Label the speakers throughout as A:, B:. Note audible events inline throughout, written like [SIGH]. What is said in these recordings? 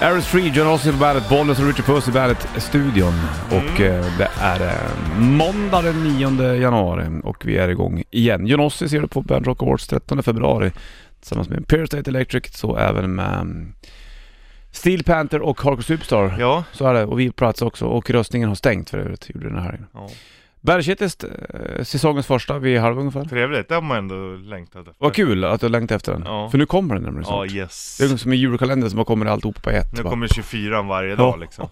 A: Aerosmith Free, John Ossie på bandet, Bollnäs och Richard Puss i bandet-studion. Och
B: Mm.
A: eh, det är eh, måndag den 9 januari och vi är igång igen. John Ossie ser du på Band Rock Awards 13 februari tillsammans med Imperial State Electric, så även med mm, Steel Panther och Hardcore Superstar.
B: Ja.
A: Så är det, och vi är på plats också. Och röstningen har stängt för övrigt, gjorde den här helgen.
B: ja.
A: Bergkittet, eh, säsongens första, vi är halv ungefär.
B: Trevligt, det har man ändå längtat efter.
A: Vad kul att du längtar efter den,
B: Ja.
A: för nu kommer den nämligen
B: Ja,
A: snart.
B: yes.
A: Det är som en julkalender som har kommit alltihop på ett.
B: Nu
A: va?
B: kommer 24 varje dag liksom.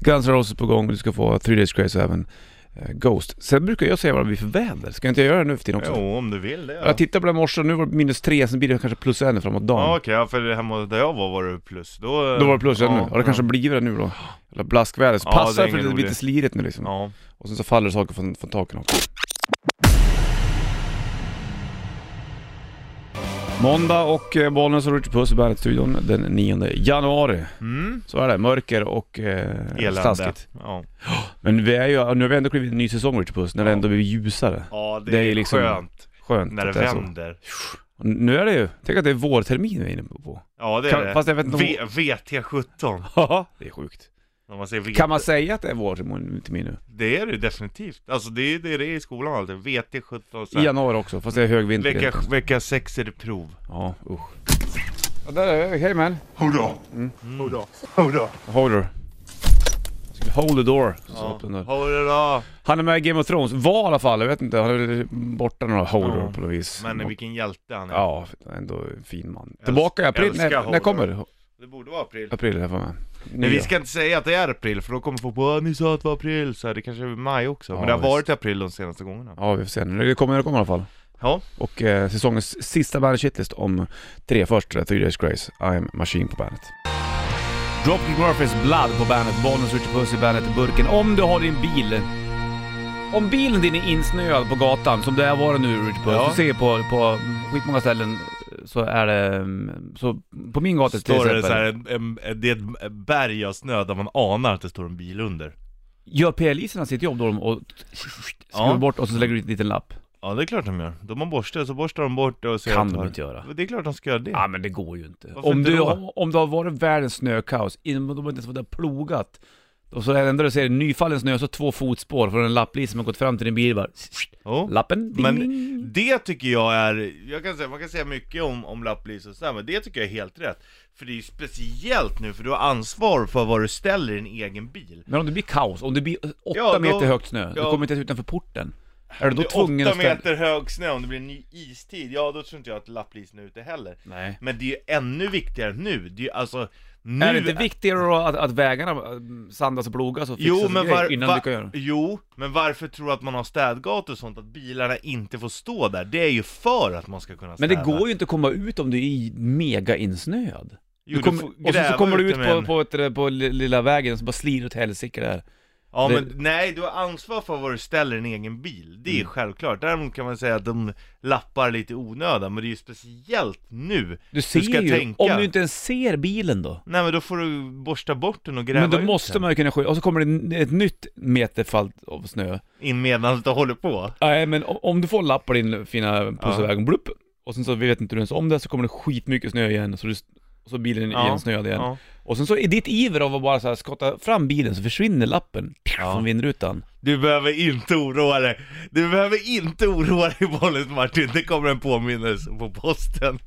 A: Guns N' Roses på gång, du ska få Three Days Grace och även eh, Ghost. Sen brukar jag säga vad det blir för väder, ska inte jag göra det nu för tiden också?
B: Jo, om du vill det. Ja,
A: Jag tittade på det i morse och nu var det minus tre, sen blir det kanske plus en framåt dagen.
B: ja okej, ja, för hemma där jag var var det plus. Då,
A: Då var det plus en
B: ja,
A: nu, och det kanske
B: ja.
A: blir det nu då. Eller blaskväder, så
B: Ja,
A: passar
B: det är
A: för det
B: ingen
A: blir lite
B: rolig.
A: slirigt nu liksom.
B: Ja.
A: Och sen så faller saker från, från taken också. Måndag och eh, Bollnäs och Richard Puss i Bandet-studion den 9 januari.
B: Mm.
A: Så är det, mörker och eh,
B: Elände.
A: staskigt.
B: Ja,
A: Men vi är ju, nu har vi ändå klivit in i en ny säsong Richard Puss, när det
B: Ja.
A: ändå blir ljusare.
B: ja det,
A: Det är
B: är
A: liksom-
B: skönt
A: Skönt
B: när det
A: att är så.
B: vänder.
A: Och Nu är det ju, tänk att det är vårtermin vi är inne på.
B: Ja, det är
A: Kan-
B: det.
A: fast jag vet inte om-
B: v, VT17.
A: Ja, det är sjukt.
B: När man säger VT.
A: Kan man säga att det är vårtermin nu?
B: Det är det ju definitivt. Alltså det är det, är det i skolan alltid. VT17. så
A: I
B: här,
A: januari också, fast det är högvinter.
B: Vecka, vecka 6 är det prov.
A: Ja, usch. Ja, där är Hej man.
B: Mm. [LAUGHS]
A: Hold on. Hold the door. Så
B: Ja.
A: öppnar den där.
B: Har du det då?
A: Han är med i Game of Thrones, var i alla fall. Jag vet inte, han är väl borta några holder
B: Ja.
A: på något vis.
B: Men vilken hjälte han är.
A: Ja, ändå en fin man. Tillbaka i april,
B: älskar
A: när, när
B: Holder.
A: kommer
B: Det borde vara april.
A: april? Jag får med.
B: Nej vi
A: Nya.
B: ska inte säga att det är april, för då kommer folk på "Åh, ni sa att det var april, så här, det kanske är maj också.
A: Ja,
B: Men det har
A: visst.
B: varit april de senaste gångerna.
A: Ja, vi får se. Det kommer när det kommer i alla fall.
B: Ja,
A: Och eh, säsongens sista Bandit Shitlist om tre första, Three Days Grace, I'm Machine på bandet. Dropkick Murphys Blood på bandet, Bollnäs Ritchie Puss i bandet burken. Om du har din bil, om bilen din är insnöad på gatan som det har varit nu Ritchie Puss,
B: Ja.
A: du ser på, på skitmånga ställen så är det, mm, så på min gata till
B: står det
A: exempel,
B: så här, en, en, en, det är ett berg av snö där man anar att det står en bil under.
A: gör PLIserna sitt jobb då de och skruvar
B: Ja.
A: bort och så lägger du ut en liten lapp?
B: Ja det är klart de gör. De har borste, så borstar de bort det och ser
A: Kan
B: att
A: de
B: har-
A: inte göra.
B: Det är klart de ska göra det.
A: Ja men det går ju inte.
B: Varför
A: Om,
B: inte
A: du,
B: då?
A: om, om det har varit världens snökaos, innan de har inte ens varit där och plogat. Och så är det enda du ser är nyfallen snö och så två fotspår från en lapplis som har gått fram till din bil bara,
B: Jo.
A: Lappen, ding,
B: Men
A: ding.
B: det tycker jag är, jag kan säga, man kan säga mycket om, om lapplis och sådär, men det tycker jag är helt rätt. För det är ju speciellt nu, för du har ansvar för vad du ställer i din egen bil.
A: Men om det blir kaos, om det blir åtta
B: Ja, då-
A: meter högt snö, du
B: ja.
A: kommer inte ens utanför porten. Är du då
B: Det är
A: tvungen att
B: åtta
A: ställa...
B: meter hög snö, om det blir en ny istid, ja då tror inte jag att lapplisen är ute heller.
A: Nej.
B: Men det är ju ännu viktigare nu, det är ju alltså nu...
A: Är det inte viktigare då att, att vägarna eh, sandas och plogas och fixas
B: Jo
A: och
B: men,
A: grejer
B: var,
A: innan
B: va-
A: du kan göra det?
B: jo, men varför tror du att man har städgator och sånt, att bilarna inte får stå där? Det är ju för att man ska kunna
A: Men
B: städa.
A: det går ju inte att komma ut om du är i- mega insnöad.
B: Jo,
A: Du
B: du
A: kommer-
B: får
A: och så, så
B: gräva
A: kommer du
B: ut
A: ut
B: det
A: på,
B: med en-
A: på, ett, på lilla vägen och så bara slir åt helsike där.
B: Ja
A: Det-
B: men nej, du har ansvar för vad du ställer i din egen bil, det är
A: Mm.
B: självklart. Däremot kan man säga att de lappar lite i onödan, men det är ju speciellt nu
A: Du ser
B: ska
A: ju,
B: tänka.
A: om du inte ens ser bilen då.
B: Nej men då får du borsta bort den och gräva
A: Men då
B: ut
A: måste
B: den.
A: man ju kunna skydda, och så kommer det n- ett nytt meterfall av snö.
B: In medan du håller på.
A: Nej men o- om du får en lapp på din fina pusseväg, blupp, och sen så vet inte du ens om det, så kommer det skitmycket snö igen, så, du, så bilen är
B: Ja,
A: igensnöad igen.
B: ja.
A: Och sen så i ditt iver av att bara så här skotta fram bilen så försvinner lappen från vindrutan.
B: Du behöver inte oroa dig. Du behöver inte oroa dig Bollnäs Martin, det kommer en påminnelse på posten.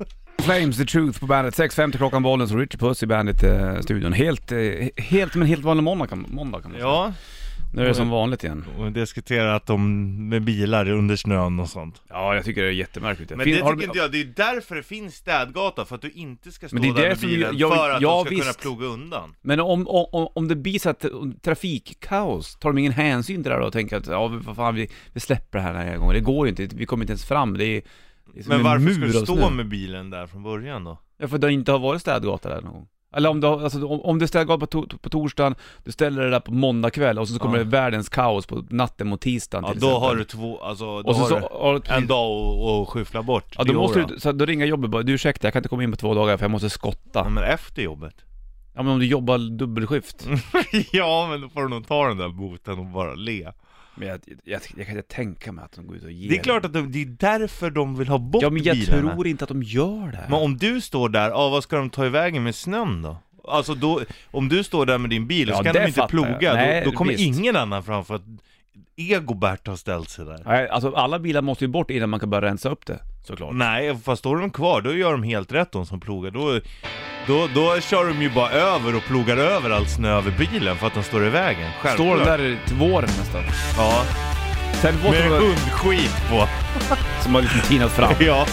A: Flames the Truth på bandet, 6.50 klockan bollen, så Richard Puss i bandet-studion. helt, eh, helt, men helt vanlig måndag kan, måndag kan man säga.
B: Ja,
A: Nu är det som vanligt igen.
B: och diskutera att de med bilar under snön och sånt.
A: Ja, jag tycker det är jättemärkligt.
B: Men
A: Fin-
B: det
A: har du-
B: tycker inte jag, det är därför det finns städgata, för att du inte ska stå
A: Men det är
B: där med
A: därför jag-
B: bilen,
A: jag-
B: för att
A: ja,
B: de ska kunna
A: visst.
B: ploga undan.
A: Men om, om, om det blir så att trafikkaos, tar de ingen hänsyn till det här då och tänker att ja, vad fan, vi, vi släpper det här den här gången. Det går ju inte, vi kommer inte ens fram. Det är, det är som
B: Men
A: en
B: varför
A: mur
B: ska du
A: av
B: stå
A: snö.
B: med bilen där från början då?
A: Ja, för det inte har varit städgata där någon gång. Eller om du, har- alltså, om, om du städar på, to, på torsdagen, du ställer det där på måndag kväll och så kommer
B: Ja.
A: det världens kaos på natten mot tisdagen
B: Ja,
A: till
B: då
A: exempel.
B: har du två, alltså då
A: och så,
B: har
A: så,
B: du
A: har du
B: en dag och, och skyffla bort.
A: Ja, då,
B: Det
A: måste
B: gör
A: du, så att då ringer jobbet bara, du ursäkta jag kan inte komma in på två dagar för jag måste skotta.
B: Ja, men efter jobbet.
A: Ja men om du jobbar dubbelskift.
B: [LAUGHS] ja, men då får du nog ta den där boten och bara le.
A: Men jag, jag, jag, jag kan inte tänka mig att de går ut och ger
B: Det är klart att de, det är därför de vill ha bort
A: Ja men jag
B: bilarna.
A: tror inte att de gör det.
B: Men om du står där, ja vad ska de ta i vägen med snön då? Alltså då, om du står där med din bil
A: Ja,
B: så kan
A: det
B: de inte
A: fattar jag.
B: ploga,
A: Nej,
B: då, då kommer
A: visst.
B: ingen annan fram för att Egobert har ställt sig där.
A: Nej, alltså alla bilar måste ju bort innan man kan börja rensa upp det. Såklart.
B: Nej, fast står de kvar, då gör de helt rätt de som plogar. Då, då, då kör de ju bara över och plogar över all snö över bilen för att de står i vägen.
A: Står
B: Självklart.
A: den där till våren nästan.
B: Ja,
A: Sen
B: med
A: våren
B: hundskit på. [LAUGHS]
A: som har liksom tinat fram.
B: Ja,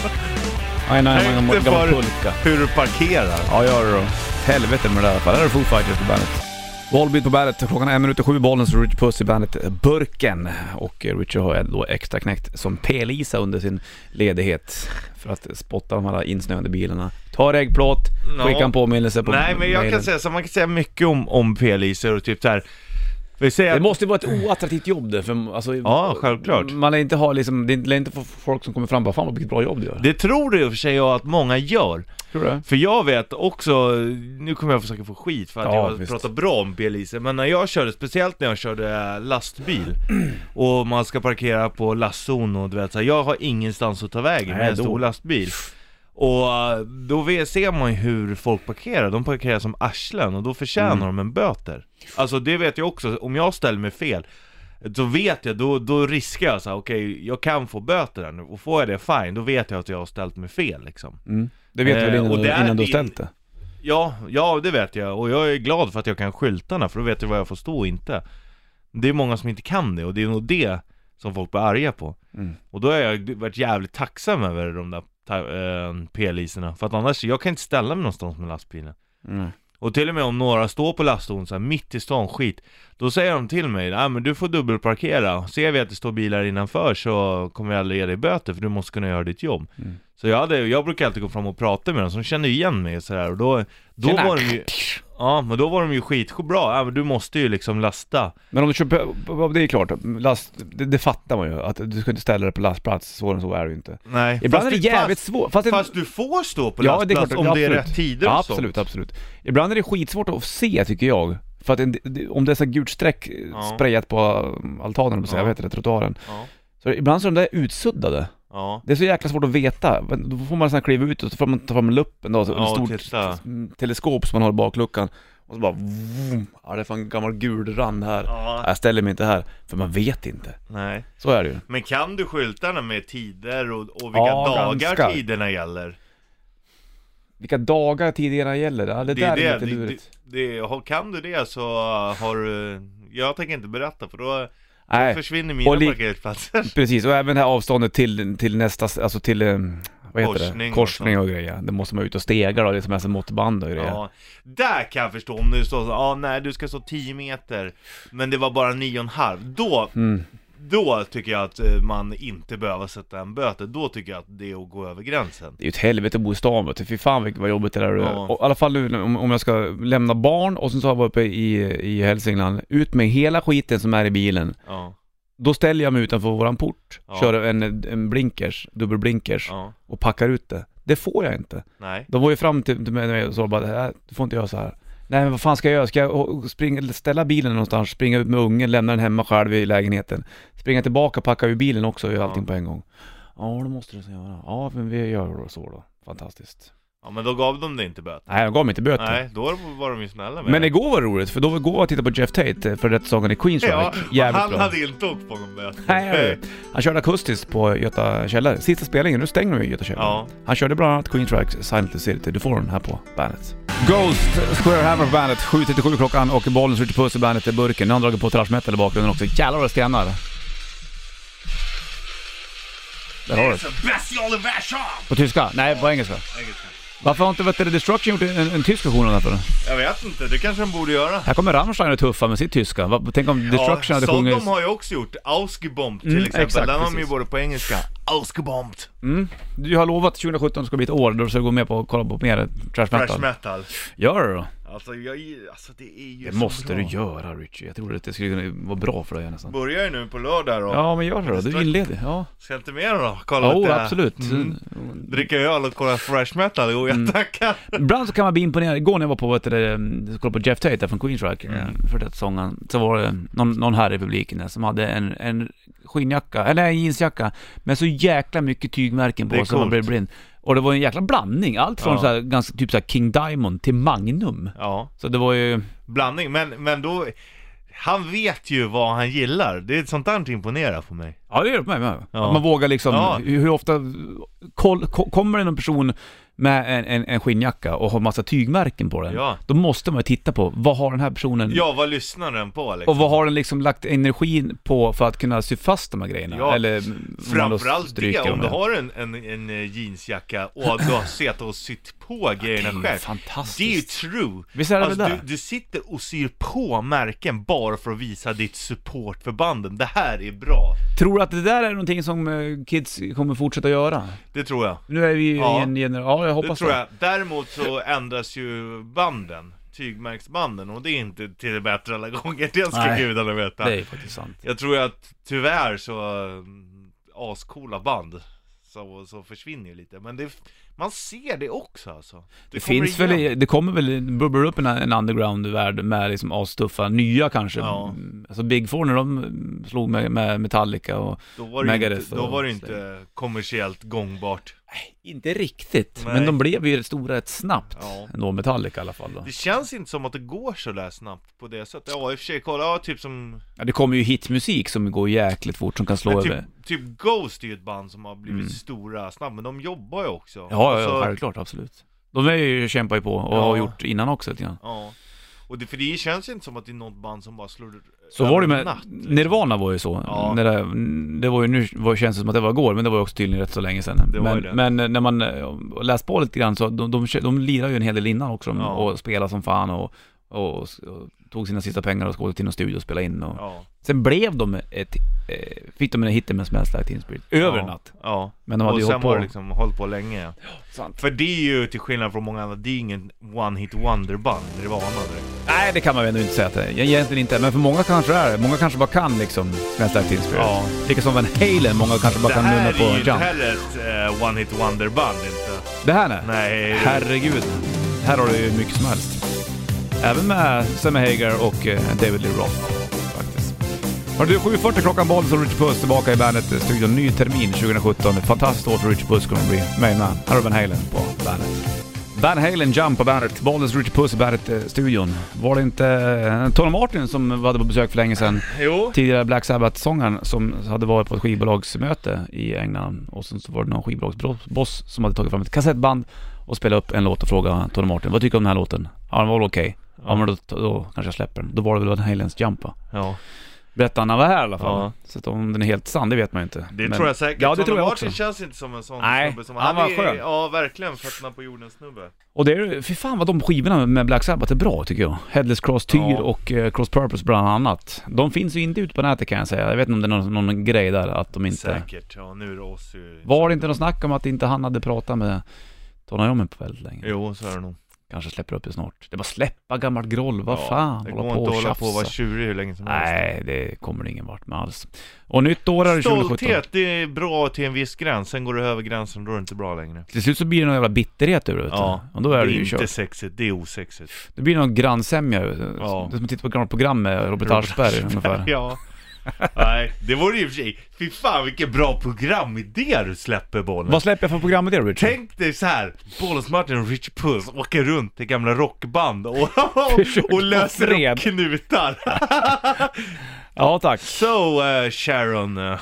A: Nej, nej, man
B: tänkte
A: gammal
B: för
A: pulka.
B: hur du parkerar.
A: Ja, gör det då. Helvete med det där i alla fall. Där är Foo Fighters på bandet. Volbeat på bandet. Klockan är en minut i sju. Bollen så Richard Puss i bandet eh, Burken. Och eh, Richard har då extra knäckt som P-Lisa under sin ledighet. För att spotta de här insnöade bilarna. Tar äggplåt,
B: Ja.
A: skickar en påminnelse på
B: Nej, men jag
A: mailen.
B: kan säga så, man kan säga mycket om, om p-lisor och typ så här. Vi säger
A: Det
B: att
A: måste ju vara ett oattraktivt jobb det, för alltså,
B: Ja, självklart.
A: Man lär inte ha liksom, det lär inte få folk som kommer fram och bara 'Fan vad vilket bra jobb du gör'
B: Det tror du i och för sig jag att många gör.
A: Tror du det?
B: För jag vet också, nu kommer jag försöka få skit för att
A: Ja,
B: jag
A: visst.
B: pratar bra om biliser, men när jag körde, speciellt när jag
A: [CLEARS THROAT]
B: körde lastbil och man ska parkera på lastzon och du vet så här, jag har ingenstans att ta vägen
A: Nej,
B: med en
A: då.
B: stor lastbil. Och eh, då ve- ser man ju hur folk parkerar, de parkerar som arslen och då förtjänar
A: Mm.
B: de en böter. Alltså det vet jag också, om jag ställer mig fel då vet jag, då, då riskar jag så här, okej, jag kan få böter här nu, och får jag det, fine, då vet jag att jag har ställt mig fel liksom.
A: Mm. Det vet du väl
B: Eh,
A: innan,
B: och
A: du-
B: där
A: innan du har
B: är-
A: ställt det?
B: Ja, ja det vet jag och jag är glad för att jag kan skyltarna för då vet jag vad jag får stå och inte Det är många som inte kan det och det är nog det som folk blir arga på
A: Mm.
B: Och då har jag varit jävligt tacksam över de där ta- eh, p-liserna För att annars, jag kan inte ställa mig någonstans med lastbilen
A: Mm.
B: Och till och med om några står på lastbilen så här mitt i stan skit Då säger de till mig, nej men du får dubbelparkera Ser vi att det står bilar innanför så kommer jag aldrig ge dig böter för du måste kunna göra ditt jobb
A: Mm.
B: Så jag, hade, jag brukar alltid gå fram och prata med dem, så de känner ju igen mig och sådär och då, då
A: Tjena.
B: var de ju Ja, men då var de ju skitbra. Ja, men du måste ju liksom lasta.
A: Men om du kör, på- på- det är klart, last, det, det fattar man ju att du ska inte ställa dig på lastplats, svårare än så är det ju inte.
B: Nej.
A: Ibland är det
B: fast-
A: jävligt svårt, fast, det-
B: Fast du får stå på
A: Ja, det är
B: lastplats
A: klart,
B: om det är
A: absolut.
B: rätt tider
A: ja,
B: och sånt.
A: absolut, absolut. Ibland är det skitsvårt att se tycker jag. För att en, det- om det är så här gult streck eh,
B: Ja.
A: sprayat på eh, altanen, ja.
B: Ja.
A: jag vet inte, trottoaren.
B: Ja,
A: Så ibland så är de där utsuddade.
B: ja.
A: Det är så jäkla svårt att veta. Men Då får man nästan kliva ut och så får man ta fram luppen då, så
B: Ja,
A: ett stort
B: titta.
A: t- teleskop som man har i bakluckan. Och så bara vroom. Ja, det är fan en gammal gul rand här.
B: Ja.
A: Jag ställer mig inte här, för man vet inte.
B: Nej.
A: Så är det ju.
B: Men kan du skyltarna med tider och, och vilka
A: Ja,
B: dagar
A: ganska.
B: tiderna gäller?
A: Vilka dagar tiderna gäller? Ja, det,
B: Det
A: där
B: är
A: är lite
B: det. det,
A: lurigt.
B: det, det har- kan du det så har du... Jag tänker inte berätta för då
A: Nej.
B: försvinner mina
A: Och li-
B: parkeringsplatser.
A: [LAUGHS] Precis, och även det här avståndet till, till nästa, alltså till, eh, vad heter
B: Korsning
A: det?
B: och
A: Korsning och grejer. Det måste man ut och stega då, det är som är som måttband och grejer.
B: Ja, där kan jag förstå om du står så, ah, nej du ska stå 10 meter, men det var bara 9,5. Då,
A: Mm.
B: då tycker jag att eh, man inte behöver sätta en böter, då tycker jag att det är att gå över gränsen.
A: Det är ju ett helvete att bo i stan vet du. fy fan vilket- vad jobbigt det där är.
B: Ja.
A: Och I alla fall nu om, om jag ska lämna barn och sen så har jag varit uppe i, i Hälsingland, ut med hela skiten som är i bilen.
B: Ja,
A: Då ställer jag mig utanför våran port,
B: Ja.
A: kör en, en blinkers, dubbelblinkers
B: ja,
A: och packar ut det. Det får jag inte.
B: nej.
A: De var ju fram till till mig och sa bara "Nej, du får inte göra så här. Nej men vad fan ska jag göra? Ska jag å- springa, eller ställa bilen någonstans, springa ut med ungen, lämna den hemma själv i lägenheten? Springa tillbaka, packa ur bilen också och göra
B: Ja.
A: allting på en gång? Ja det måste du så göra. Ja men vi gör då så då. Fantastiskt.
B: Ja men då gav de dig inte böter.
A: Nej jag gav mig inte böter.
B: Nej, då var de ju snälla med
A: Men
B: dig.
A: igår var det roligt, för då var igår var jag tittade på Jeff Tate eh, för rättegången i Queensrÿche.
B: [LAUGHS] Ja,
A: Jävligt
B: han
A: bra.
B: hade inte åkt på någon böter.
A: Nej, han körde akustiskt på Göta källare. Sista spelningen, nu stänger de ju Göta källare.
B: Ja.
A: Han körde bland annat Queen Tracks Silent Lucidity. Du får den här på bandet. Ghost, Square Hammer på bandet. 7.37 klockan och bollen skjuter puss i bandet i burken. Nu har han dragit på thrash metal i bakgrunden också. Jävlar vad det stenar. Där har du det.
B: Special version!
A: På tyska? Nej, på engelska. Varför har inte vet du, Destruction gjort en, en tysk version av den? här?
B: Jag vet inte, det kanske de borde göra.
A: Här kommer Rammstein och tuffa med sitt tyska. Vad- Tänk om Destruction hade
B: Sodom
A: sjungit...
B: har ju också gjort Ausgebombt till
A: Mm,
B: exempel,
A: exakt,
B: den har de ju
A: precis.
B: både på engelska. Ausgebombt!
A: Du har lovat 2017 ska bli ett år då du ska gå med på och kolla på mer thrash
B: Fresh
A: metal.
B: metal.
A: Gör det då.
B: Alltså, jag, alltså det är ju
A: Det
B: så
A: måste
B: bra.
A: du göra Richie. Jag trodde att det skulle kunna vara bra för dig nästan.
B: Börjar ju nu på lördag då.
A: Ja men gör det då, du inleder. Ja,
B: Ska inte med då? Kolla
A: ja
B: lite-
A: absolut. Mm.
B: Mm. Dricka öl och kolla fresh metal, jo jag tackar.
A: Ibland så kan man bli imponerad. Igår när jag var på, vet du, det, jag kollade på Jeff Tate där från Queensrÿche, mm. för det sången, så var det någon, någon här i publiken där som hade en, en skinnjacka, eller en jeansjacka, med så jäkla mycket tygmärken
B: Det
A: på
B: är
A: så man
B: coolt.
A: blev blind. Och det var en jäkla blandning. Allt från
B: Ja.
A: så här, ganska, typ så här King Diamond till Magnum.
B: Ja,
A: Så det var ju...
B: blandning. Men, men då... Han vet ju vad han gillar. Det är sånt där imponerar på mig.
A: Ja det gör det på mig med.
B: Ja.
A: Att man vågar liksom,
B: Ja.
A: hur hur ofta koll, ko, kommer det någon person med en, en, en skinnjacka och har massa tygmärken på den.
B: Ja.
A: Då måste man ju titta på, vad har den här personen
B: Ja, vad lyssnar den på liksom?
A: och vad har den liksom lagt energin på för att kunna sy fast de här grejerna?
B: Ja,
A: Eller om Mm, man då
B: Framförallt det,
A: stryker dem.
B: om du har en, en, en eh, jeansjacka och
A: [CLEARS THROAT]
B: du har sett och sytt på grejerna
A: ju
B: själv.
A: fantastiskt.
B: Det är ju true.
A: Visst är det
B: alltså,
A: väl det?
B: du, du sitter och syr på märken bara för att visa ditt support för banden. Det här är bra.
A: Tror du att det där är någonting som eh, kids kommer fortsätta göra?
B: Det tror jag.
A: Nu är vi ju
B: Ja.
A: i en generation, ja jag
B: Det
A: hoppas
B: tror jag. Däremot så ändras ju banden. Tygmärksbanden och det är inte till det bättre alla gånger, [LAUGHS] det ska
A: Nej.
B: gudarna veta.
A: det. Det är ju faktiskt sant.
B: Jag tror ju att tyvärr så eh, ascoola band så, så försvinner ju lite. Men det, man ser det också alltså.
A: Det,
B: kommer
A: finns väl,
B: igen.
A: i- det kommer väl, bubblar upp en, en underground-värld med liksom astuffa, nya kanske.
B: Ja.
A: Mm, Alltså Big Four när de mm, slog med, med Metallica och...
B: Då var det ju
A: Megadeth
B: inte, då
A: och-
B: var det ju inte kommersiellt gångbart.
A: Inte riktigt,
B: Nej.
A: men de blev ju stora rätt snabbt.
B: Ja.
A: Ändå Metallica i alla fall då.
B: Det känns inte som att det går så där snabbt på det sättet. Ja i och för sig, kolla, ja, typ som...
A: Ja, det kommer ju hitmusik som går jäkligt fort, som kan slå
B: Men
A: över.
B: typ, typ Ghost är ju ett band som har blivit
A: Mm.
B: stora snabbt, men de jobbar ju också.
A: Ja, ja,
B: Alltså,
A: ja, självklart, absolut. De är ju, kämpar ju på och
B: Ja.
A: har gjort innan också lite grann.
B: ja. Och det, för det känns ju inte som att det är något band som bara slår
A: Så
B: över
A: var det
B: en
A: med,
B: natt, liksom.
A: Nirvana var ju så.
B: Ja.
A: När det, det var ju, nu var, känns det som att det var igår, men det var ju också tydligen rätt så länge sedan.
B: Det var
A: men,
B: ju det.
A: men när man eh, läst på lite grann så, de, de, kö- de lirade ju en hel del innan också de,
B: Ja.
A: och spelade som fan och, och, och, tog sina sista pengar och skådade till någon studio och spelade in och.
B: Ja.
A: Sen blev de ett, eh, fick de en hit med Smells Like Teen Spirit, över
B: ja.
A: en natt.
B: Ja.
A: Men de hade
B: och
A: ju
B: sen
A: hållit
B: har
A: på.
B: det liksom hållit på länge ja.
A: sant.
B: För det är ju till skillnad från många andra, det är ingen one hit wonder band, Nirvana direkt.
A: Nej det kan man väl ändå inte säga att det är, egentligen inte, men för måga kanske det är, många kanske bara kan liksom Smells Like Teen Spirit.
B: Ja.
A: Lika som Van Halen, många kanske bara
B: Det
A: kan nunna
B: här är ju
A: på
B: inte
A: Jump.
B: heller ett eh, one hit wonder band inte.
A: Det här nej.
B: Nej,
A: Herregud. Här har du ju mycket som helst. Även med Sammy Hagar och eh, David Lee Roth faktiskt. Hörru du, 7.40 klockan boll så Richard Puss tillbaka i bandet eh, studion. Ny termin 2017. Ett Fantastiskt år för Richard Puss kommer det bli. Mig med. Här har Van Halen på bandet. Van Halen Jump på bandet. Bollens Richard Puss i bandet-studion. Var det inte eh, Tony Martin som var på besök för länge sedan?
B: jo.
A: Tidigare Black Sabbath-sångaren som hade varit på ett skivbolagsmöte i England och sen så var det någon skivbolagsboss som hade tagit fram ett kassettband och spelat upp en låt och frågade Tony Martin vad tycker du om den här låten? Ja den var väl okej. Ja men då, då kanske jag släpper den. Då var det väl Van Halens Jump va?
B: Ja.
A: Berättade han han var här i alla fall.
B: Ja.
A: Så att om den är helt sann, det vet man ju inte.
B: Det
A: Men-
B: tror jag säkert.
A: Ja det
B: Tony
A: tror jag
B: Martin
A: också.
B: känns inte som en sån
A: Nej,
B: snubbe som...
A: han var
B: är,
A: skön.
B: Ja, verkligen. Fötterna på jorden snubbe.
A: Och det är fy fan vad de skivorna med Black Sabbath är bra tycker jag. Headless Cross Tyr
B: Ja.
A: och eh, Cross Purpose bland annat. De finns ju inte ute på nätet kan jag säga. Jag vet inte om det är någon, någon grej där att de inte...
B: Säkert. Ja, nu är det oss ju...
A: Var det inte någon snack om att inte han hade pratat med Tony Iommi på väldigt länge?
B: Jo, så är det nog.
A: Kanske släpper upp det snart. Det var släppa gammalt groll, vad
B: Ja,
A: fan?
B: Det
A: hålla
B: går
A: på
B: inte
A: och
B: att hålla på och vara
A: tjafsa.
B: tjurig hur länge som helst.
A: Nej, det kommer ingen vart med alls. Och nytt år är det 2017.
B: Stolthet, det är bra till en viss gräns. Sen går du över gränsen, då är det inte bra längre.
A: Till slut så blir det någon jävla bitterhet över det.
B: Ja,
A: Ja, och då är det
B: det är
A: ju
B: inte
A: kört.
B: sexigt, det
A: [LAUGHS]
B: är osexigt.
A: Det blir någon grannsämja. Ja. Det
B: Ja.
A: är som att titta på ett gammalt program med Robert Aschberg ungefär.
B: [LAUGHS] Ja. Nej, det vore ju i och för sig... Fy fan vilken bra programidé du släpper bollen.
A: Vad släpper jag för program med det Richard?
B: Tänk dig så här, Bollens Martin och Rich Puss åker runt till gamla rockband och,
A: [LAUGHS] Försöker
B: och
A: få
B: löser upp
A: fred. [LAUGHS]
B: knutar. [LAUGHS]
A: Ja tack.
B: so eh,
A: [LAUGHS]
B: Sharon. eh,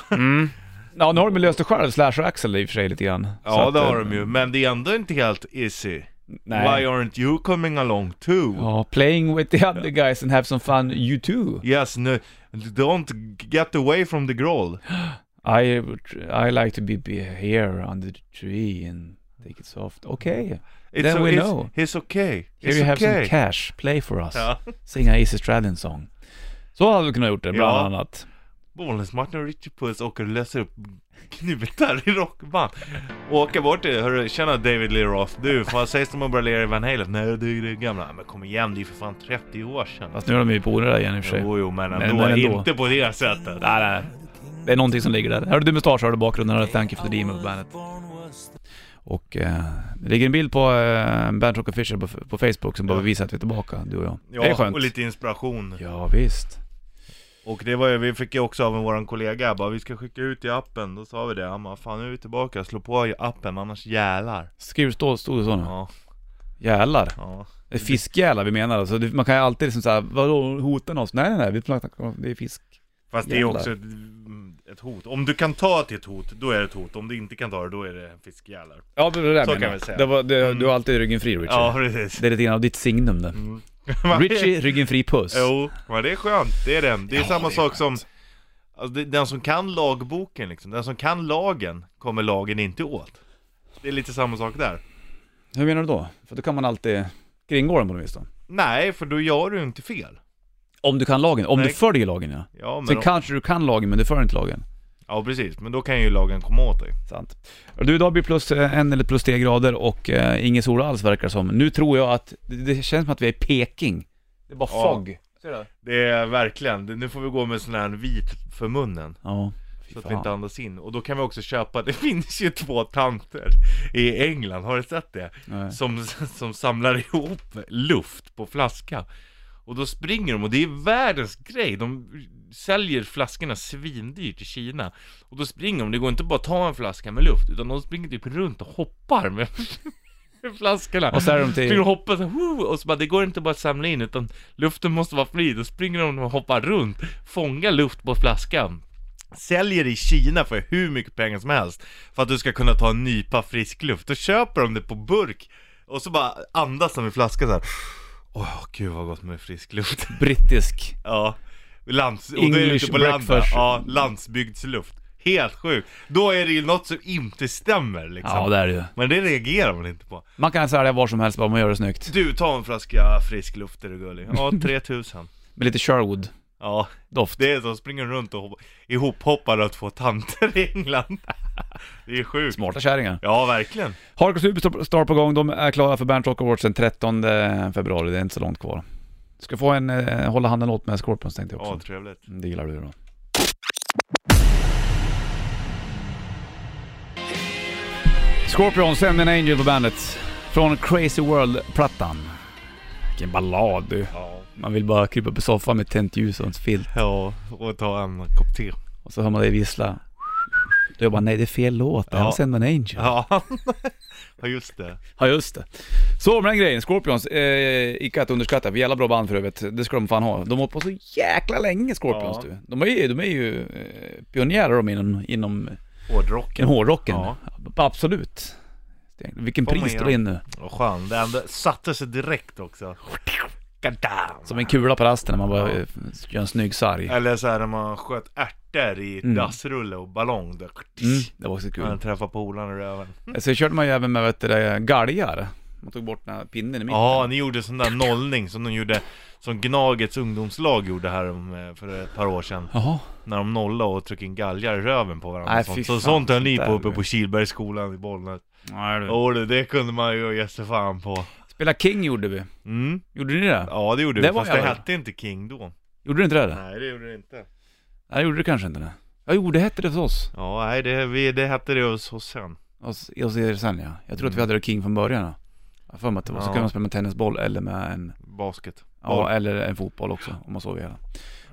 A: Ja nu har de ju löst det själv, Slash och Axel i och för sig lite grann. Så
B: ja
A: att,
B: det
A: eh,
B: har de ju, men det är ändå inte helt easy.
A: Nej.
B: Why aren't you coming along too?
A: Ja, playing with the other guys and have some fun you too.
B: Yes, no, don't get away from the growl.
A: I would- I like to be, be here under the tree and take it soft. Okay,
B: It's
A: Then we
B: it's,
A: know.
B: It's okay.
A: here
B: it's
A: you have
B: okay.
A: some cash. Play for us.
B: Ja.
A: Sing a East Australian song. Så hade du kunnat gjort det bland
B: Ja.
A: annat.
B: Bollens Martin och Richie Puss åker och löser upp knutar i rockband. Och åker bort till, hörru, tjena David Lee Roth. Du, vad sägs det om att börja lira i Van Halen? Nej, du är det gamla. Men kom igen, det är ju för fan 30 år sedan.
A: Fast nu är de ju polare där igen i och för sig.
B: Jo, jo, men
A: Men-
B: ändå,
A: men ändå.
B: inte på det sättet.
A: Nej, nej. Det är någonting som ligger där. Hörde du mustasch hörde bakgrunden hörde Thank You For The Demon på bandet. Och eh, det ligger en bild på eh, Band Rock Official på, på Facebook som bara visar att vi är tillbaka, du och jag.
B: Ja,
A: det är skönt.
B: och lite inspiration.
A: Ja, visst.
B: Och det var ju, vi fick ju också av en våran kollega bara vi ska skicka ut i appen, då sa vi det. Han bara fan nu är vi tillbaka, slå på i appen annars jälar.
A: Skriv stå, stod det så nu?
B: Ja,
A: Jälar.
B: ja.
A: Det är Fiskjälar vi menar alltså. Det- Man kan ju alltid liksom såhär, vadå hota oss? Nej nej nej, vi pratar om, det är fisk.
B: Fast det är ju
A: Jävlar.
B: också ett, ett hot. Om du kan ta det till ett hot, då är det ett hot. Om du inte kan ta det, då är det fiskjälar.
A: Ja det var det där
B: Så
A: menar
B: kan
A: jag.
B: vi säga.
A: Det var, det,
B: Mm.
A: Du har alltid ryggen fri Richard.
B: Ja, precis.
A: Det är lite grann av ditt signum det. [LAUGHS]
B: Mm.
A: Richie, ryggen fri puss.
B: Jo, men det är skönt. Det är det. Det är
A: Ja,
B: samma
A: det är
B: sak
A: skönt.
B: som... Alltså, det, den som kan lagboken liksom, den som kan lagen, kommer lagen inte åt. Det är lite samma sak där.
A: Hur menar du då? För då kan man alltid kringgå den på något vis då.
B: Nej, för då gör du inte fel.
A: Om du kan lagen, om
B: Nej.
A: du följer lagen ja.
B: Ja, men
A: Sen
B: om-
A: kanske du kan lagen men du följer inte lagen.
B: ja precis. Men då kan ju lagen komma åt dig.
A: Sant. Du, idag blir plus eh, en eller plus tre grader och eh, ingen sol alls verkar det som. Nu tror jag att, det, det känns som att vi är i Peking. Det är bara
B: Ja.
A: fog.
B: Det är verkligen, nu får vi gå med sån här vit för munnen.
A: Ja. Fy
B: Så att vi
A: fan.
B: inte andas in. Och då kan vi också köpa, [LAUGHS] det finns ju två tanter i England, har du sett det?
A: Nej.
B: Som, som samlar ihop luft på flaska. Och då springer de och det är världens grej. De säljer flaskorna svindyrt i Kina. Och då springer de, det går inte bara att ta en flaska med luft, utan de springer typ runt och hoppar med flaskorna.
A: Och så är de till-
B: Springer och hoppar så, här, "Woo!" och så bara, det går inte bara att samla in, utan luften måste vara fri. Då springer de och hoppar runt, fångar luft på flaskan. Säljer i Kina för hur mycket pengar som helst För att du ska kunna ta en nypa frisk luft Då köper de det på burk Och så bara andas de i flaskan såhär Åh gud vad gott med frisk luft [LAUGHS]
A: Brittisk.
B: Ja, lands, och då är det
A: English
B: ute på landet.
A: breakfast.
B: Ja, landsbygdsluft. Helt sjukt. Då är det ju något som inte stämmer liksom.
A: Ja det är det ju.
B: Men det reagerar man inte på.
A: Man kan sälja var som helst bara man gör det snyggt.
B: Du, ta en flaska frisk luft är du gullig. [LAUGHS] Ja, 3000.
A: Med lite Sherwood.
B: Ja,
A: Doft.
B: det är så. Springer runt och hoppa- ihophoppar av två tanter i England. [LAUGHS] Det är sjukt.
A: Smarta kärringar.
B: Ja, verkligen.
A: Hardcore Superstar på gång, de är klara för Bernt Rock Awards den 13 februari, det är inte så långt kvar. Ska få en eh, hålla handen åt med Scorpions tänkte jag också.
B: Ja, trevligt.
A: Mm, Det gillar du då. Scorpions, Send an Angel på bandet. Från Crazy World-plattan. Vilken ballad du.
B: Ja.
A: Man vill bara krypa upp i soffan med tänt ljus och en filt.
B: Ja, och ta en kopp te.
A: Och så hör man dig vissla. Då jag bara, nej det är fel låt. Det här var
B: Ja.
A: Send an Angel.
B: Ja, [LAUGHS] ja just det.
A: Ja just det. Så med den grejen, Scorpions, eh, icke att underskatta, för jävla bra band för övrigt. Det ska de fan ha. De har hållit på så jäkla länge Scorpions
B: Ja.
A: du. De är ju, de är ju eh, pionjärer de inom, inom
B: Hårdrocken.
A: inom hårdrocken.
B: Ja.
A: Absolut. Vilken
B: Får man
A: pris
B: ge
A: du
B: dem.
A: in nu.
B: Och skön, den där satte sig direkt också.
A: Som en kula på rasten när man bara
B: Ja.
A: eh, gör en snygg sarg.
B: Eller så här när man sköt ärtor i
A: Mm.
B: dassrulle och ballong. Då,
A: Mm, det var också
B: Man
A: kul.
B: träffade polaren i röven.
A: Sen körde man ju även med vet du, det, galgar. Man tog bort den här pinnen i mitten.
B: Ja, ni gjorde sån där nollning som de gjorde, som Gnagets ungdomslag gjorde här om, eh, för ett par år sedan.
A: Jaha.
B: När de nollade och tryckte in galgar i röven på varandra.
A: Nej,
B: och sånt.
A: fy
B: så
A: fan,
B: sånt höll ni
A: sånt
B: på
A: där, Mm.
B: uppe
A: du.
B: på Kilbergsskolan i Bollnäs.
A: Nej, du.
B: Åh du, det kunde man ju ge sig fan på.
A: Spela King gjorde vi.
B: Mm.
A: Gjorde ni det?
B: Ja det gjorde
A: Det
B: vi,
A: var
B: fast det
A: jag.
B: hette inte King då.
A: Gjorde du inte det?
B: Nej det gjorde det inte.
A: Nej, gjorde du kanske inte det. Ja, jo, det hette det för oss.
B: Ja, nej det, vi, det hette det hos oss sen.
A: Och s- och så är det sen ja. Jag tror att vi hade det King från början. ja. Jag har för mig att det var. Så
B: Mm. Ja.
A: kunde man spela med tennisboll eller med en,
B: Basket.
A: ja,
B: Boll.
A: eller en fotboll också om man så vill.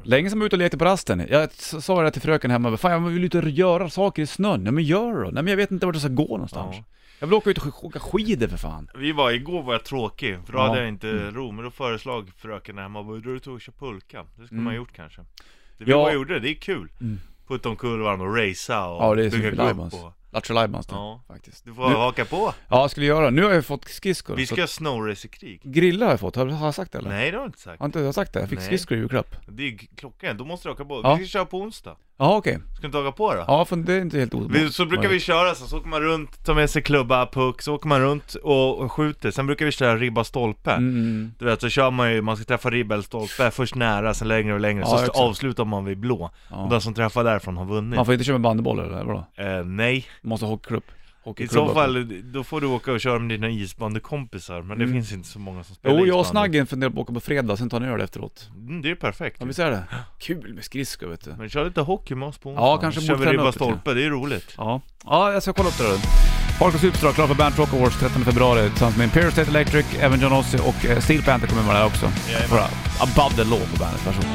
A: Länge som jag var ute och lekte på rasten. Jag s- sa det till fröken hemma, fan jag vill ut och göra saker i snön. Ja men gör då. Nej men jag vet inte vart jag ska gå någonstans.
B: Ja.
A: Jag vill åka ut och sk- åka skidor för fan.
B: Vi var, igår var jag tråkig, för då
A: Ja. Mm.
B: hade jag inte ro, men då föreslog fröken hemma, vad du tog och köra pulka? Det skulle
A: Mm.
B: man ha gjort kanske Det
A: Ja.
B: ja. jag gjorde, det är kul!
A: Mm.
B: Putta omkull varandra och racea och
A: Ja, det är
B: bygga
A: Super
B: gupp
A: Lions.
B: och...
A: Lattjo Lajbans då,
B: Ja.
A: faktiskt.
B: Du får
A: Nu-
B: haka på!
A: Ja, jag skulle göra det. Nu har jag fått skridskor.
B: Vi ska
A: Så
B: göra snowracerkrig
A: Grilla har jag fått, har har jag sagt det eller?
B: Nej det har jag inte sagt,
A: Har inte jag sagt det? Jag fick
B: Nej.
A: skridskor i julklapp.
B: det är ju klockan, då måste du haka på
A: Ja.
B: Vi ska köra på onsdag,
A: Jaha okej.
B: ska du inte haka på då?
A: Ja, för det är inte helt
B: Vi,
A: omöjligt.
B: så brukar vi köra så, så åker man runt, tar med sig klubba, puck, så åker man runt och, och skjuter, sen brukar vi köra ribba stolpe
A: Mm.
B: Du vet, så kör man ju, man ska träffa ribba eller stolpe, först nära, sen längre och längre,
A: Ja,
B: så
A: exakt.
B: avslutar man vid blå.
A: mm. Ja.
B: Och den som träffar därifrån har vunnit.
A: Man får inte köra med bandyboll eller vadå?
B: Eh, nej,
A: Måste ha hockeyklubb.
B: i
A: Hockeyklubba.
B: så fall då får du åka och köra med dina isbandykompisar, men det
A: Mm.
B: finns inte så många som spelar
A: Jo, jag och
B: isbandy.
A: Snaggen funderar på att åka på fredag, sen tar en öl efteråt.
B: Mm, det är ju perfekt.
A: Ja, vi säger det? Kul med skridskor vet du.
B: Men kör lite hockey med oss på
A: Ja, kanske
B: Så
A: borde
B: kör vi
A: träna
B: ribba
A: upp lite.
B: stolpe, det är roligt.
A: Ja. Ja, jag ska kolla upp det då. Park och Superstar klar för Bernt Rock Awards 13 februari tillsammans med Imperial State Electric, även John Ossie och eh, Steel Panther kommer vara där också.
B: Jajamän.
A: Bara above the law på bandet, varsågod.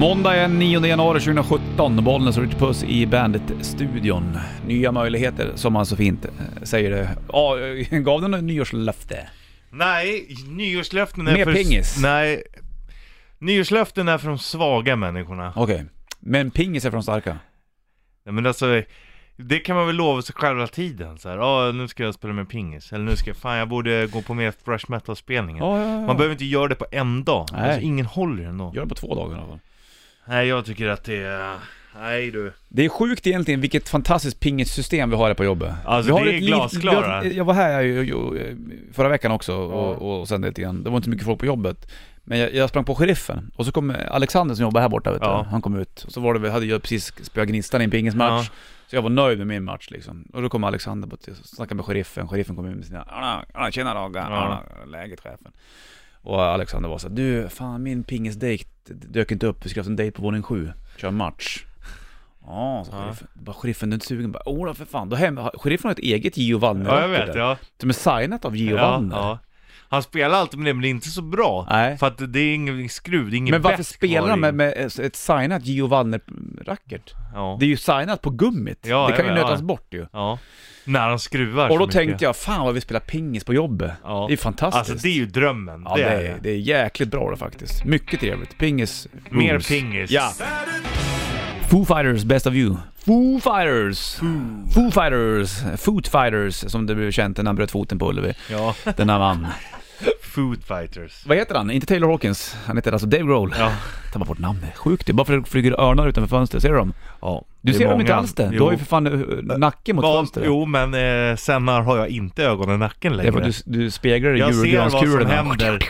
A: Måndag den 9 januari 2017, Bollnäs och Richard Puss i Bandit-studion. Nya möjligheter, som man så fint eh, säger det. Ja, eh, [LAUGHS] gav den en nyårslöfte?
B: Nej, nyårslöften är
A: Mer
B: för...
A: pingis.
B: Nej. Nyårslöften är för de svaga människorna.
A: Okej. Men pingis är från starka?
B: Nej, men alltså, det kan man väl lova sig själv hela tiden. Så här, "Ah, nu ska jag spela med pingis. Eller nu ska jag, fan jag borde gå på mer thrash metal-spelningar.
A: Ja, ja, ja.
B: Man behöver inte göra det på en dag.
A: Nej.
B: Alltså, ingen håller den då.
A: Gör det på två dagar i alla fall.
B: Nej, jag tycker att det är... Nej du.
A: Det är sjukt egentligen vilket fantastiskt pingissystem vi har här på jobbet.
B: Alltså,
A: vi har
B: det är
A: litet-
B: glasklara.
A: vi har ett- Jag var här ju, ju, ju, förra veckan också och, och sen lite grann. Det var inte mycket folk på jobbet. Men jag, jag sprang på sheriffen och så kom Alexander som jobbar här borta vet du.
B: Ja.
A: Han kom ut och så var det, väl- hade jag precis spöat Gnistan i en pingismatch.
B: Ja.
A: Så jag var nöjd med min match liksom. Och då kom Alexander på och snackade med sheriffen. Sheriffen kom in med sina "Arna, arna, ”Tjena Ragga, arna, läget chefen”. Och Alexander var så här, du fan min pingisdejk dök inte upp, vi skulle haft en dejt på våning sju, kör match. Ja, så
B: Ja.
A: sheriffen, bara sheriffen du är inte sugen? Bara, Ola för fan, då hem, sheriffen har ett eget Gio Wallner
B: Ja, jag vet. Ja.
A: Som är signat av Gio
B: Ja,
A: Wallner.
B: ja. Han spelar alltid med det, men det är inte så bra.
A: Nej.
B: För att det är ingen skruv, det är ingen
A: Men varför
B: bäsk
A: spelar
B: kvar
A: han
B: i.
A: med, med ett signat Gio Wallner-racket?
B: Ja.
A: Det är ju signat på gummit,
B: Ja,
A: det kan ju
B: jag vet,
A: nötas
B: ja.
A: bort ju.
B: ja. När han skruvar
A: Och då tänkte jag, fan vad vi spelar pingis på jobbet.
B: Ja.
A: Det är fantastiskt.
B: Alltså det är ju drömmen.
A: Ja, det, är, det är jäkligt bra det faktiskt. Mycket trevligt. Pingis.
B: Mer
A: rules.
B: pingis.
A: Ja. Foo Fighters, Best of You. Foo Fighters! Foo Fighters! Foot Fighters, som det blev känt när han bröt foten på Ullevi.
B: Ja.
A: Den här
B: [LAUGHS]
A: man.
B: Food fighters.
A: Vad heter han? Inte Taylor Hawkins. Han heter alltså Dave Grohl.
B: Ja.
A: Tappar bort namnet. Sjukt det. Bara för att det flyger örnar utanför fönstret. Ser du dem?
B: ja.
A: Du
B: det är
A: ser dem
B: många.
A: inte alls det. Du
B: Jo.
A: har ju för fan eh, nacken mot
B: Vad-
A: fönstret.
B: Jo, men eh, sen har jag inte ögonen i nacken
A: Det är
B: längre.
A: för att du, du speglar
B: jag ser vad som
A: julgranskulorna.
B: händer.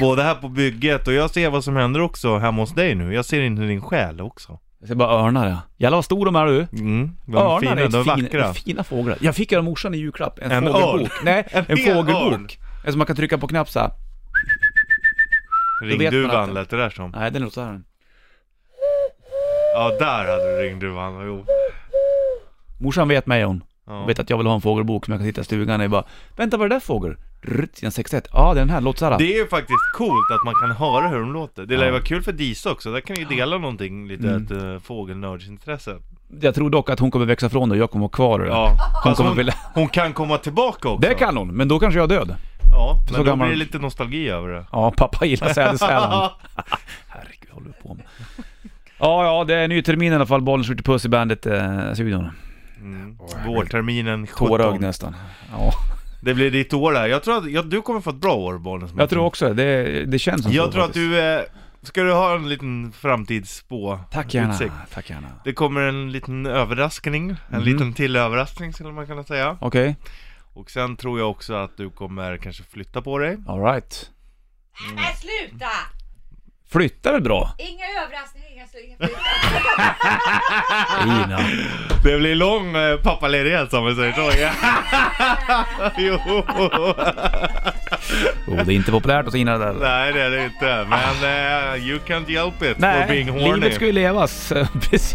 B: Både här på bygget och jag ser vad som händer också hemma hos dig nu. Jag ser in i din själ också.
A: Jag ser bara örnar ja. Jävlar vad stor de är du.
B: Mm. De är
A: Örnar
B: fina,
A: är
B: de är
A: fin-
B: vackra.
A: fina fåglar. Jag fick ju av morsan i julklapp en,
B: [LAUGHS] En
A: fågelbok.
B: örn.
A: Nej, en,
B: hel örn.
A: fågelbok. En som man kan trycka på knapp såhär. vet man att
B: Ringduvan
A: det-
B: lät det där som.
A: Nej, den låter såhär.
B: Ja, där hade du ringduvan. Jo.
A: Morsan vet mig hon.
B: Ja.
A: Hon vet att jag vill ha en fågelbok som jag kan sitta i stugan och bara Vänta, vad är det där för fågel? Rrrt, Sidan 61. Ja, det är den här. Låt såhär.
B: Det är ju faktiskt coolt att man kan höra hur de låter. Det lär ju
A: Ja. Mm.
B: vara kul för Disa också, där kan ni ju dela någonting, lite ett uh, fågelnördsintresse.
A: Jag tror dock att hon kommer växa från det och jag kommer ha kvar det.
B: Ja, Alltså-
A: Hon
B: fast
A: kommer
B: hon,
A: vilja...
B: hon kan komma tillbaka också.
A: Det kan hon, men då kanske jag är död.
B: Ja,
A: så
B: men då
A: gammal-
B: blir det lite nostalgi över det.
A: Ja, pappa gillar
B: [LAUGHS]
A: sädesärlan.
B: Ja,
A: Herregud, vad håller du på med? Ja, ja, det är en ny termin i alla fall. Bollen skjuter puss i eh, bandet-studion.
B: mm. Vårterminen 17.
A: Tårögd nästan. Ja.
B: Det blir ditt år där. Jag tror att ja, du kommer få ett bra år, Bollnäs.
A: Jag tror också det. det. Det känns som så
B: Jag tror att
A: faktiskt.
B: du, eh, ska du ha en liten framtidsspå?
A: Tack gärna.
B: utsikt?
A: Tack gärna.
B: Det kommer en liten överraskning, en
A: Mhm.
B: liten till överraskning skulle man kunna säga.
A: Okej,
B: Och sen tror jag också att du kommer kanske flytta på dig.
A: alright.
C: Nej, sluta!
A: Flyttar väl bra?
C: Inga överraskningar, inga sluta.
A: Ina.
B: Det blir lång eh, pappaledighet som vi säger [LAUGHS] så. Ja. jo.
A: [LAUGHS] Oh, det är inte populärt att Ina där.
B: Nej det är det inte. Men eh, you can't help it for
A: Nej,
B: being horny.
A: livet ska ju levas. [LAUGHS] Precis.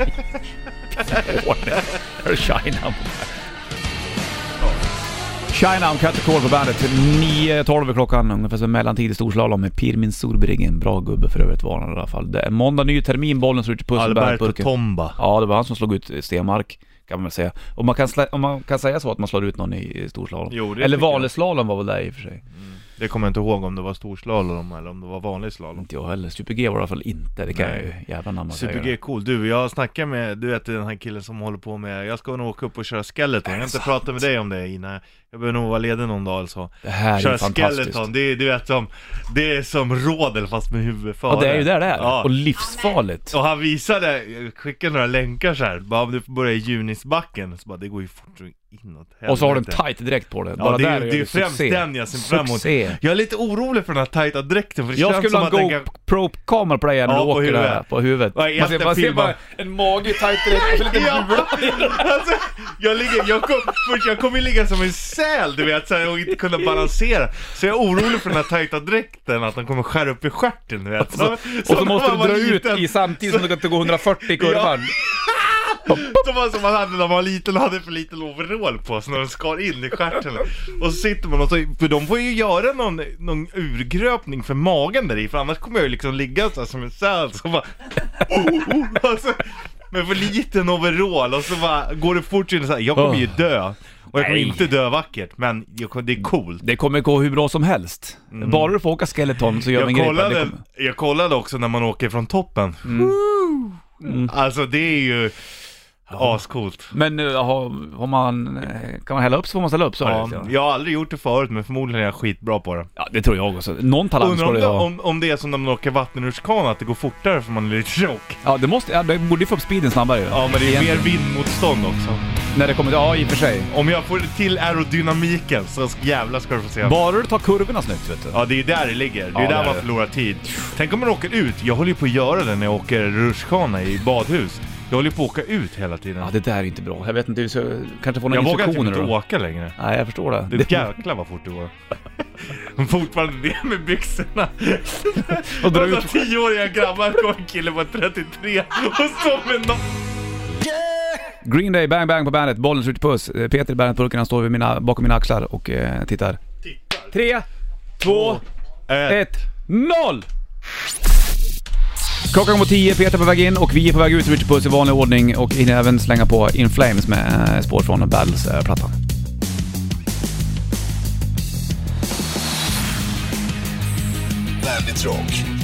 A: Horny. Hör Shinedown. Shinedown, Cut the Call på bandet. 9.12 är klockan, ungefär som mellantid i storslalom med Pirmin Solbriggen. Bra gubbe för övrigt var han i alla fall. Det är måndag, ny termin, bollen slår ut i puss och
B: Alberto
A: bärburken.
B: Tomba.
A: Ja, det var han som slog ut Stenmark kan man väl säga. Om man kan, slä, om man kan säga så att man slår ut någon i i storslalom.
B: Jo, det
A: Eller
B: tycker jag.
A: valeslalom var väl där i och för sig.
B: Det kommer jag inte ihåg om det var storslalom eller om det var vanlig slalom.
A: Inte jag heller. Super G var det i alla fall inte. Det kan
B: Nej.
A: jag ju jävla namn
B: Super G är cool. Du, jag snackar med, du vet den här killen som håller på med, jag ska nog åka upp och köra skeleton. Jag har inte pratat med dig om det Ina. Jag behöver nog vara ledig någon dag eller så.
A: Det här är ju
B: Köra
A: fantastiskt.
B: skeleton, det är, du vet som, det är som rodel fast med huvudet före.
A: Ja, det är ju där det är.
B: Ja.
A: Och livsfarligt.
B: Och han visade, jag skickade några länkar så här. bara om du får börja i Junisbacken, så bara det går ju fort inåt
A: Och så har du en
B: helvete.
A: tight direkt på det.
B: Ja det är,
A: där gör
B: ju- det är
A: du
B: ju främst
A: succé.
B: den jag ser fram emot.
A: Succé.
B: Jag är lite orolig för den här tajta dräkten för det
A: Jag
B: känns
A: skulle
B: som
A: ha
B: att den
A: en
B: kan...
A: GoPro-kamera på dig när
B: Ja,
A: du
B: på
A: åker
B: huvudet.
A: där, på huvudet.
B: Ja,
A: Man ser, man ser
B: filma.
A: bara en mage i tight direkt, och lite
B: [LAUGHS]
A: bula.
B: alltså, jag ligger, jag kom, först jag kommer ligga som en säl du vet, så här, och inte kunna balansera. Så jag är orolig för den här tajta dräkten, att den kommer skära upp i stjärten du vet. Så,
A: Och så måste du dra ut i
B: i [LAUGHS]
A: samtidigt som du kan gå 140 i kurvan.
B: Det var som man hade när man var liten och hade för liten overall på sig när de skar in i stjärten. Och så sitter man och så, för de får ju göra någon, någon urgröpning för magen där i för annars kommer jag ju liksom ligga så här som en säl så bara... Alltså, med för liten overall och så bara går det fort in så här, jag kommer ju dö. Och jag kommer
A: Nej.
B: inte dö vackert, men jag, kommer- det är coolt.
A: Det kommer gå hur bra som helst. Bara du får åka skeleton så gör vi
B: Mm. Jag
A: en grej. på det. Det
B: kollade,
A: kommer- Mm.
B: jag kollade också när man åker från toppen. Alltså det är ju ascoolt.
A: Men eh, har, har man, eh, kan man hälla upp så får man ställa upp så.
B: Ja,
A: Ja, ja.
B: jag har aldrig gjort det förut men förmodligen är jag skitbra på det.
A: det tror jag också. Någon talang
B: Undrar
A: ska
B: om,
A: du
B: det,
A: ha.
B: om, om det är som när man åker vattenrutschkana, att det går fortare för man är lite tjock.
A: Ja, det måste, ja, det borde ju få upp speeden snabbare ju.
B: Ja men det är mer
A: Egentligen.
B: vindmotstånd också.
A: När det kommer, ja i och för sig.
B: Om jag får till aerodynamiken så ska- jävlar ska du få se.
A: Bara du tar kurvorna snyggt vet du.
B: Ja det är ju där det ligger, det är
A: Ja,
B: där
A: det är
B: man
A: det.
B: förlorar tid. Tänk om man åker ut, jag håller ju på att göra det när jag åker rutschkana i badhus. Jag håller ju på att åka ut hela tiden.
A: Ja, det där är inte bra. Jag vet inte, vi ska kanske få några
B: Jag vågar typ
A: instruktioner
B: inte
A: då.
B: åka längre.
A: Nej, jag förstår det.
B: Det jäklar vad fort det går. [LAUGHS] Fortfarande ner med byxorna.
A: och dra ut...
B: Alltså tioåriga grabbar kom en kille på 33 och så med no
A: [LAUGHS] Green Day, bang bang på bandet, bollen skjuter puss. Eh, Peter i bandetburken, han står vid mina, bakom mina axlar och eh, tittar. Tre, två, ett, noll! Klockan går tio, Peter är på väg in och vi är på väg ut, Richard Puss i vanlig ordning och hinner även slänga på In Flames med eh, spår från Battles-plattan.
D: Bandit Rock.